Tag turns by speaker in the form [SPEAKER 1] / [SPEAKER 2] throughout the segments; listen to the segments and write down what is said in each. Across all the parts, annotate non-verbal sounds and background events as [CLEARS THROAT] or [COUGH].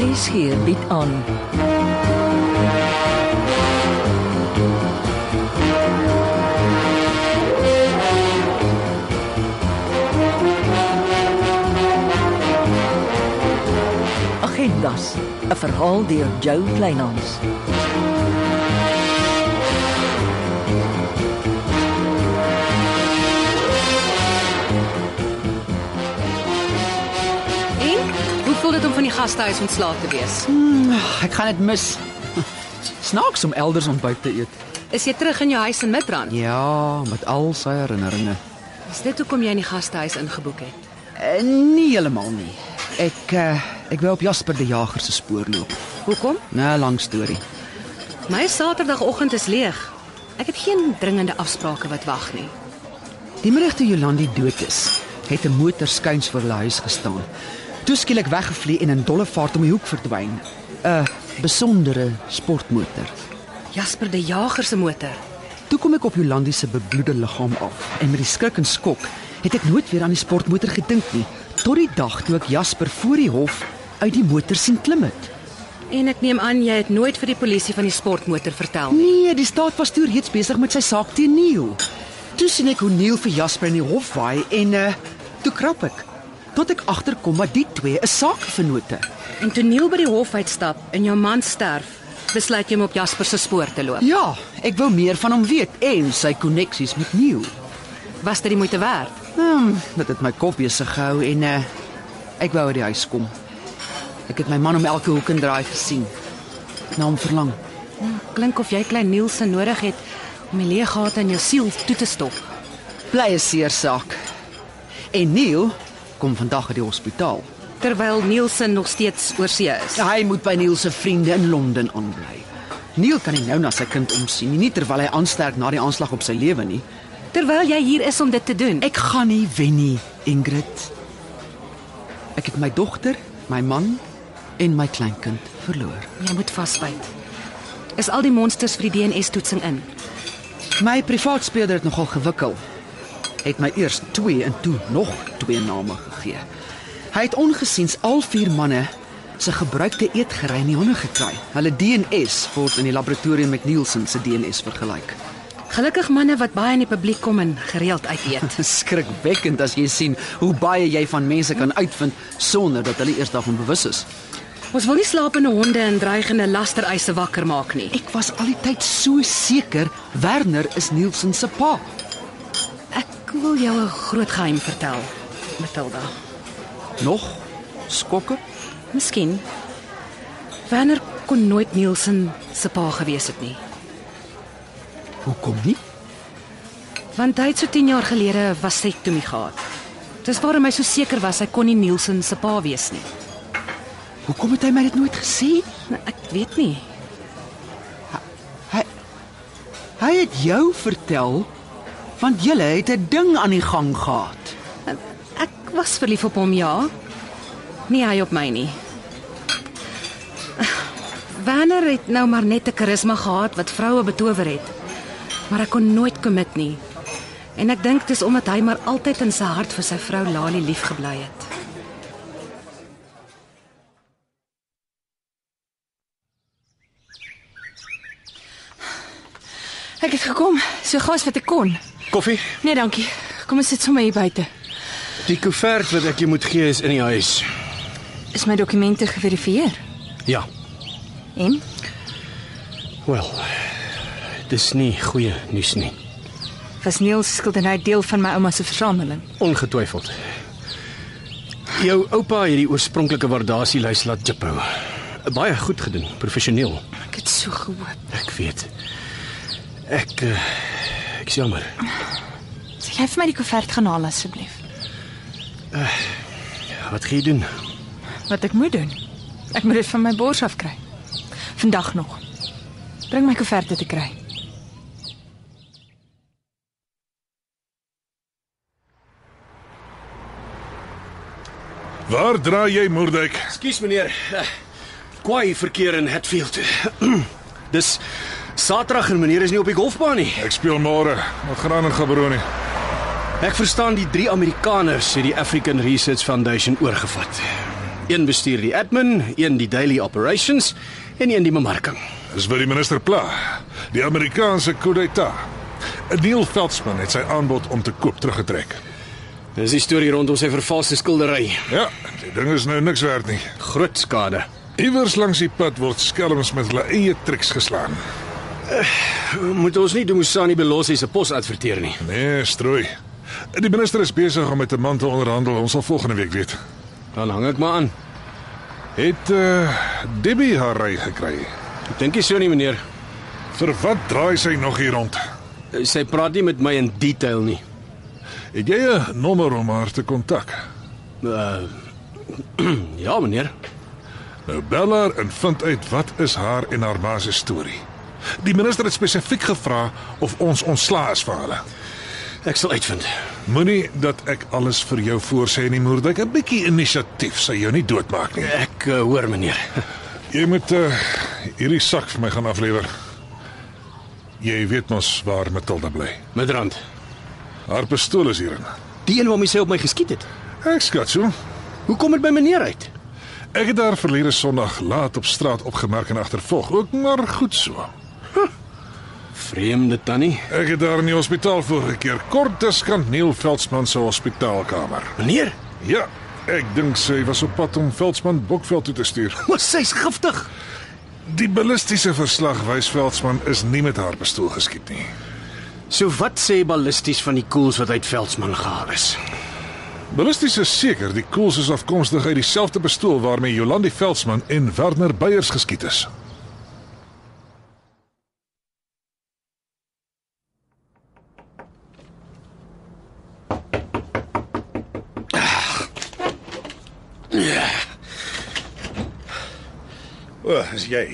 [SPEAKER 1] RSG bied aan. Agendas, 'n verhaal deur Jo Kleinhans.
[SPEAKER 2] En hoe voel dit om van die gastehuis ontslae te wees?
[SPEAKER 3] Ek gaan dit mis. [LAUGHS] Snaaks om elders ontbyt te eet.
[SPEAKER 2] Is jy terug in jou huis in Midrand?
[SPEAKER 3] Ja, met al sy herinneringe.
[SPEAKER 2] Is dit hoekom jy in die gastehuis ingeboek het?
[SPEAKER 3] Eh, Nie heeltemal nie. Ek eh, ek wou op Jasper die Jager se spoor loop.
[SPEAKER 2] Hoekom?
[SPEAKER 3] 'n Lang storie.
[SPEAKER 2] My Saterdagoggend is leeg. Ek het geen dringende afsprake wat wag nie.
[SPEAKER 3] Die middag toe Jolandi dood is, het 'n motor skuins voor hulle huis gestaan. Toe skielik weggevlieg en in dolle vaart om die hoek verdwyn. 'n Besondere sportmotor.
[SPEAKER 2] Jasper die Jager se motor.
[SPEAKER 3] Toe kom ek op Jolandi se bebloede liggaam af en met die skrik en skok het ek nooit weer aan die sportmotor gedink nie tot die dag toe ek Jasper voor die hof uit die motor sien klim het.
[SPEAKER 2] En ek neem aan jy het nooit vir die polisie van die sportmotor vertel nie.
[SPEAKER 3] Nee, die staat was toe reeds besig met sy saak teen Neil. Toe sien ek hoe Neil vir Jasper in die hof waai en uh toe krap ek tot ek agterkom dat die twee 'n saak vennote.
[SPEAKER 2] En toe Neil by die hof uitstap en jou man sterf, besluit jy om op Jasper se spoor te loop.
[SPEAKER 3] Ja, ek wou meer van hom weet en sy koneksies met Neil.
[SPEAKER 2] Was dit die moeite werd?
[SPEAKER 3] Hmm, dit het my kop besig gehou en uh, ek wou uit die huis kom. Ek het my man om elke hoek en draai gesien. Na hom verlang.
[SPEAKER 2] Klink of jy klein Neil se nodig het om die leë gate in jou siel toe te stop.
[SPEAKER 3] Bly 'n seer saak. En Neil kom vandag uit die hospitaal.
[SPEAKER 2] Terwyl Nielsen nog steeds oorsee is.
[SPEAKER 3] Hy moet by Neil se vriende in Londen aanbly. Neil kan nie nou na sy kind omsien nie, nie terwyl hy aansterk na die aanslag op sy lewe nie.
[SPEAKER 2] Terwyl jy hier is om dit te doen.
[SPEAKER 3] Ek gaan nie wen nie, Ingrid. Ek het my dogter, my man en my kleinkind verloor.
[SPEAKER 2] jy moet vasbyt. Is al die monsters vir die DNS-toetsing in?
[SPEAKER 3] My privaat speurder het nogal gewikkel. Het my eers 2 en toe nog 2 name gegee. Hy het ongesiens al vier manne se gebruikte eetgerei in die hande gekry. Hulle DNS word in die laboratorium met Nielsen se DNS vergelyk. [LAUGHS]
[SPEAKER 2] Gelukkig manne wat baie in die publiek kom en gereeld uit eet. [LAUGHS]
[SPEAKER 3] Dit is skrikwekkend as jy sien hoe baie jy van mense kan uitvind sonder dat hulle eers daarvan bewus is.
[SPEAKER 2] Ons wil nie slapende honde en dreigende lastereise wakker maak nie.
[SPEAKER 3] Ek was al die tyd so seker Werner is Nielsen se pa.
[SPEAKER 2] Ek wil jou 'n groot geheim vertel, Matilda.
[SPEAKER 3] Nog skokke?
[SPEAKER 2] Miskien Werner kon nooit Nielsen se pa gewees het nie,
[SPEAKER 3] Hoekom nie?
[SPEAKER 2] want hy het so 10 jaar gelede 'n vasektomie gehad. Dis waarom hy so seker was hy kon nie Nielsen se pa wees nie.
[SPEAKER 3] Hoekom het hy my dit nooit gesê nie?
[SPEAKER 2] Nou, Ek weet nie.
[SPEAKER 3] Hy hy het jou vertel want julle het 'n ding aan die gang gehad.
[SPEAKER 2] Ek was verlief op hom, ja. Nie hy op my nie. Werner het nou maar net 'n karisma gehad wat vroue betower het. Maar ek kon nooit commit nie. En ek dink dis omdat hy maar altyd in sy hart vir sy vrou Lali lief gebly het.
[SPEAKER 4] Ek het gekom, so gas wat ek kon.
[SPEAKER 5] Koffie?
[SPEAKER 4] Nee, dankie. Kom ons sit sommer hier buite.
[SPEAKER 5] Die koevert wat ek jou moet gee is in die huis.
[SPEAKER 4] Is my dokumente geverifieer?
[SPEAKER 5] Ja.
[SPEAKER 4] En
[SPEAKER 5] Wel. Dis nie goeie nuus nie.
[SPEAKER 4] was Niels se skildery deel van my ouma se versameling?
[SPEAKER 5] Ongetwyfeld. Jou oupa het die oorspronklike waardasielys laat jiphou. Baie goed gedoen, professioneel.
[SPEAKER 4] Ek het so gehoop.
[SPEAKER 5] Ek weet. Ek eh, ek is jammer.
[SPEAKER 4] Sê jy vir my die koevert gaan haal asseblief?
[SPEAKER 5] Wat gaan jy doen?
[SPEAKER 4] Wat ek moet doen? Ek moet dit van my bors af kry. Vandag nog. Bring my koeverte te kry.
[SPEAKER 6] Waar draai jy, Moerdijk?
[SPEAKER 5] Ekskuus meneer. Eh, Kwaai verkeer in Hatfield. [CLEARS THROAT] Dis Saterdag en meneer is nie op die golfbaan nie.
[SPEAKER 6] Ek speel môre. Wat gaan aan in Gaborone?
[SPEAKER 5] Ek verstaan die drie Amerikaners het die African Research Foundation oorgevat. Een bestuur die admin, een die daily operations en een die bemarking.
[SPEAKER 6] Dis vir die minister Pla, die Amerikaanse coup d'état. Neil Veldsmann het sy aanbod om te koop teruggetrek.
[SPEAKER 5] Dis die storie rondom sy vervalste skildery.
[SPEAKER 6] Ja, die ding is nou niks werd nie.
[SPEAKER 5] Groot skade.
[SPEAKER 6] Iewers langs die pad word skelms met hulle eie triks geslaan.
[SPEAKER 5] Moet ons nie Dumusani Belosi se pos adverteer nie.
[SPEAKER 6] Nee, strooi. Die minister is besig om met 'n man te onderhandel. Ons sal volgende week weet.
[SPEAKER 5] Dan hang ek maar aan.
[SPEAKER 6] Het uh, Debbie haar ry gekry?
[SPEAKER 5] Ek dink nie so nie, meneer.
[SPEAKER 6] Vir wat draai sy nog hier rond?
[SPEAKER 5] Sy praat nie met my in detail nie.
[SPEAKER 6] Het jy 'n nommer om haar te kontak?
[SPEAKER 5] Uh, [CLEARS THROAT] ja, meneer.
[SPEAKER 6] Nou bel haar en vind uit wat is haar en haar ma se storie. Die minister het spesifiek gevra of ons ontslaa is van hulle.
[SPEAKER 5] Ek sal uitvind.
[SPEAKER 6] Moenie dat ek alles vir jou voorsê nie, Moerdijk. 'n Bietjie inisiatief sal jou nie doodmaak nie.
[SPEAKER 5] Ek uh, hoor, meneer. [LAUGHS]
[SPEAKER 6] Jy moet uh, hierdie sak vir my gaan aflewer. Jy weet mos waar Matilda bly.
[SPEAKER 5] Midrand.
[SPEAKER 6] Haar pistool is hierin.
[SPEAKER 5] Die een waarmee sy op my geskiet het.
[SPEAKER 6] Ek skat so.
[SPEAKER 5] Hoe kom dit by meneer uit?
[SPEAKER 6] Ek het haar verlede Sondag laat op straat opgemerk en agtervolg. Ook maar goed so.
[SPEAKER 5] Vreemde tannie.
[SPEAKER 6] Ek het daar in die hospitaal vorige keer kort diskant Neil Veldsmann se hospitaalkamer.
[SPEAKER 5] Meneer,
[SPEAKER 6] Ja, ek dink sy was op pad om Veldsmann Bokveld toe te stuur.
[SPEAKER 5] maar sy's giftig.
[SPEAKER 6] Die ballistiese verslag wys Veldsmann is nie met haar pistool geskiet nie.
[SPEAKER 5] So wat sê ballisties van die koels wat uit Veldsmann gehaal is?
[SPEAKER 6] Ballisties is seker die koels is afkomstig uit dieselfde pistool waarmee Jolandi Veldsmann en Werner Beyers geskiet is.
[SPEAKER 7] O, oh, is jy.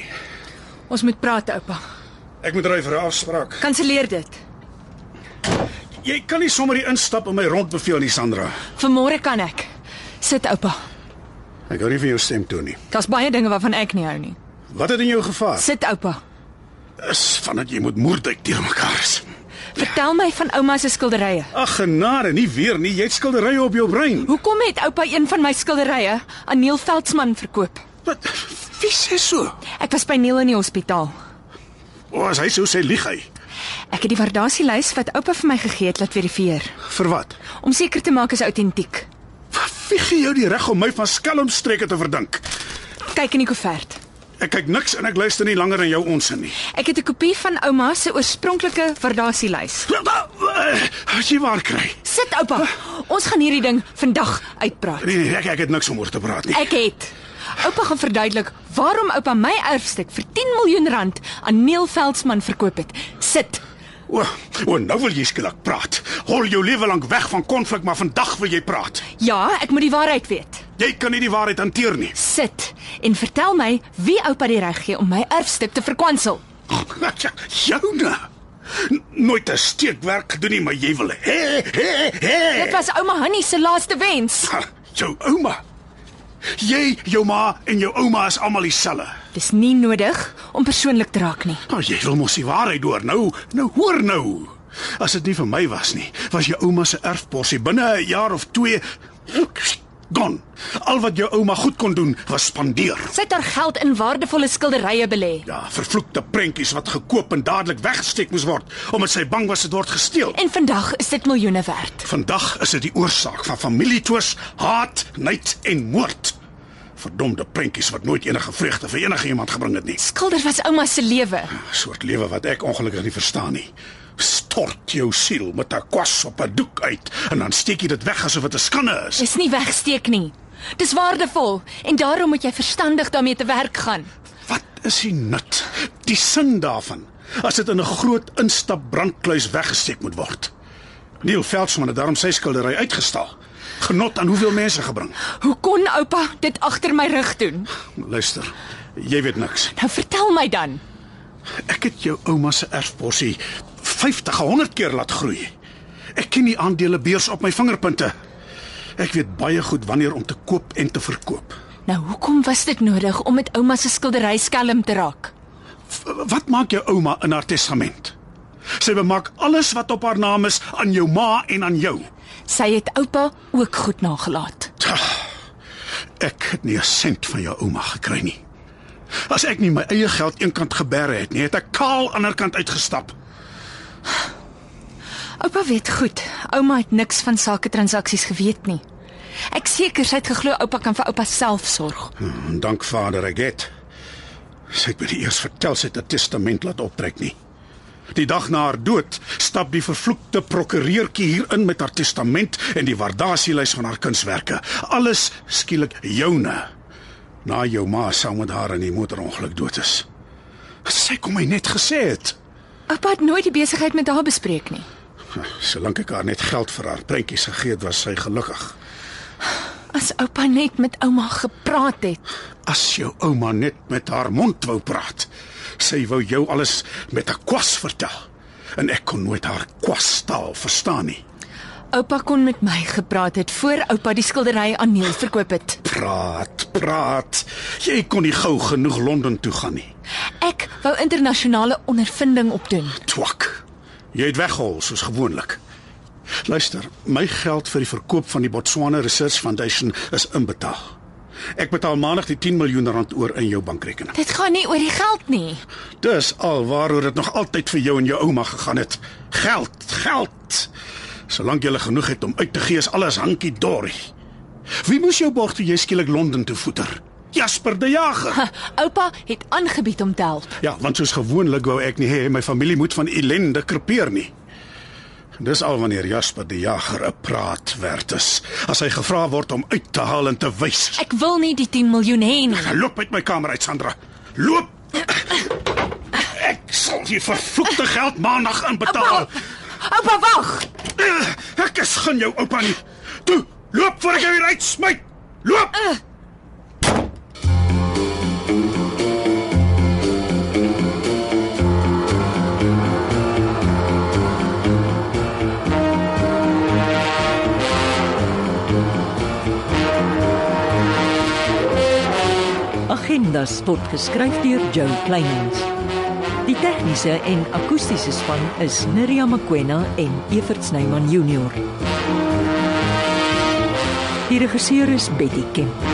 [SPEAKER 2] Ons moet praat, oupa.
[SPEAKER 7] Ek moet ry vir 'n afspraak.
[SPEAKER 2] Kanselleer dit.
[SPEAKER 7] Jy kan nie sommer hier instap en my rondbeveel nie, Sandra.
[SPEAKER 2] Vanmôre kan ek. Sit, oupa.
[SPEAKER 7] Ek hou nie van jou stem toe nie.
[SPEAKER 2] Daar's baie dinge waarvan ek nie hou nie.
[SPEAKER 7] Wat het in jou gevaar?
[SPEAKER 2] Sit, oupa.
[SPEAKER 7] Is vandat jy moet moordheid teer mekaar is.
[SPEAKER 2] Vertel my van ouma se skilderye.
[SPEAKER 7] Ag genade, nie weer nie. Jy het skilderye op jou brein.
[SPEAKER 2] Hoekom het oupa een van my skilderye aan Neil Veldsmann verkoop?
[SPEAKER 7] Wat? Wie sê so?
[SPEAKER 2] Ek was by Neil in die hospitaal.
[SPEAKER 7] O, as hy so sê, lieg hy.
[SPEAKER 2] Ek het die waardasielys wat oupa vir my gegee het laat verifieer
[SPEAKER 7] Vir wat?
[SPEAKER 2] om seker te maak is autentiek.
[SPEAKER 7] Wie gee jou die reg om my van skelmstreke te verdink?
[SPEAKER 2] Kyk in die koevert.
[SPEAKER 7] Ek kyk niks en ek luister nie langer aan jou onsin nie.
[SPEAKER 2] Ek het 'n kopie van ouma se oorspronklike waardasielys.
[SPEAKER 7] As jy waar kry.
[SPEAKER 2] Sit oupa, ons gaan hierdie ding vandag uitpraat.
[SPEAKER 7] Nee, nee, ek ek het niks om oor te praat nie.
[SPEAKER 2] Ek het Oupa gaan verduidelik waarom oupa my erfstuk vir 10 miljoen rand aan Neil Veldsmann verkoop het. Sit.
[SPEAKER 7] O, o, nou wil jy skielik praat. Hol jou lewe lank weg van konflik, maar vandag wil jy praat.
[SPEAKER 2] Ja, ek moet die waarheid weet.
[SPEAKER 7] Jy kan nie die waarheid hanteer nie.
[SPEAKER 2] Sit en vertel my wie oupa die reg gee om my erfstuk te verkwansel.
[SPEAKER 7] Joune. ja, N- Nooit 'n steekwerk gedoen nie, maar jy wil hè hè hè.
[SPEAKER 2] Dit was ouma Hannie se laaste wens.
[SPEAKER 7] Ha, jou ouma. Jy, jou ma en jou ouma is almal dieselfde.
[SPEAKER 2] Dis nie nodig om persoonlik te raak nie.
[SPEAKER 7] Nou jy wil mos die waarheid hoor. Nou, nou hoor nou. As dit nie vir my was nie, was jou ouma se erfporsie binne 'n jaar of 2 gone. Al wat jou ouma goed kon doen, was spandeer.
[SPEAKER 2] Sy het haar geld in waardevolle skilderye belê
[SPEAKER 7] Ja, vervloekte prentjies wat gekoop en dadelik weggesteek moes word omdat sy bang was dit word gesteel.
[SPEAKER 2] en vandag is dit miljoene werd.
[SPEAKER 7] Vandag is dit die oorsaak van familietwis, haat, nait en moord. Verdomde prentjies wat nooit enige vreugde vir enige iemand gebring het nie. 'n
[SPEAKER 2] Skilder was ouma se lewe.
[SPEAKER 7] Soort lewe wat ek ongelukkig nie verstaan nie. Stort jou siel met 'n kwas op 'n doek uit en dan steek jy dit weg asof dit 'n skande is.
[SPEAKER 2] Dis nie wegsteek nie. Dis waardevol en daarom moet jy verstandig daarmee te werk gaan.
[SPEAKER 7] Wat is die nut? Die sin daarvan as dit in 'n groot instap brandkluis weggesteek moet word. Neil Veldsmann het daarom sy skildery uitgestaal. Genot aan hoeveel mense gebring.
[SPEAKER 2] Hoe kon oupa dit agter my rug doen?
[SPEAKER 7] Luister, jy weet niks.
[SPEAKER 2] Nou vertel my dan.
[SPEAKER 7] Ek het jou ouma se erfporsie 50, 100 keer laat groei. Ek ken die aandelebeurs op my vingerpunte. Ek weet baie goed wanneer om te koop en te verkoop.
[SPEAKER 2] Nou hoekom was dit nodig om met ouma se skildery skelm te raak?
[SPEAKER 7] F- Wat maak jou ouma in haar testament? Sy bemaak alles wat op haar naam is aan jou ma en aan jou.
[SPEAKER 2] Sy het oupa ook goed nagelaat.
[SPEAKER 7] Ek het nie 'n sent van jou ouma gekry nie. As ek nie my eie geld eenkant geberre het nie, het ek kaal aanderkant uitgestap.
[SPEAKER 2] Oupa weet goed, ouma het niks van sake transaksies geweet nie. Ek seker sy het geglo oupa kan vir oupa self sorg.
[SPEAKER 7] En Mm, dank Vader ek het. Sy het by die eers vertel sy het 'n testament laat optrek nie. Die dag na haar dood stap die vervloekte prokureurtjie hier in met haar testament en die waardasielys van haar kunswerke. Alles skielik joune. Na jou ma saam met haar in die motorongeluk dood is. Sy kom my net gesê het.
[SPEAKER 2] Oupa het nooit die besigheid met haar bespreek nie.
[SPEAKER 7] Solank ek haar net geld vir haar prentjies gegee het, was sy gelukkig.
[SPEAKER 2] As oupa net met ouma gepraat het.
[SPEAKER 7] As jou ouma net met haar mond wou praat. Sy wou jou alles met 'n kwas vertel. En ek kon nooit haar kwastaal verstaan nie.
[SPEAKER 2] Oupa kon met my gepraat het voor oupa die skildery aan Neil verkoop het.
[SPEAKER 7] Praat, praat. Jy kon nie gou genoeg Londen toe gaan nie.
[SPEAKER 2] Ek wou internasionale ondervinding opdoen.
[SPEAKER 7] Twak. Jy het weggehol soos gewoonlik. Luister, my geld vir die verkoop van die Botswana Research Foundation is inbetaal. Ek betaal maandag die 10 miljoen rand oor in jou bankrekening.
[SPEAKER 2] Dit gaan nie oor die geld nie.
[SPEAKER 7] Dis alwaaroor dit nog altyd vir jou en jou ouma gegaan het. Geld, geld. Solank jy genoeg het om uit te gee, is alles hankie dorie. Wie moes jou borg toe jy skielik Londen toe voeter? Jasper die Jager.
[SPEAKER 2] Oupa het aangebied om te help.
[SPEAKER 7] Ja, want soos gewoonlik wou ek nie hê my familie moet van ellende krepeer nie. Dis al wanneer Jasper die Jager 'n praat werd is, as hy gevra word om uit te haal en te wys.
[SPEAKER 2] Ek wil nie die 10 miljoen hê nie.
[SPEAKER 7] Loop uit my kamer uit, Sandra. Loop. Ek sal die vervloekte geld maandag inbetaal.
[SPEAKER 2] Oupa wag.
[SPEAKER 7] Ek is gun jou oupa nie. Toe, loop voor ek jou hier uitsmy. Loop.
[SPEAKER 1] Agendas word geskryf deur Joe Kleinhans. Die tegniese en akoestiese span is Neriya Mkwena en Evert Snyman Junior. Die regisseur is Betty Kemp.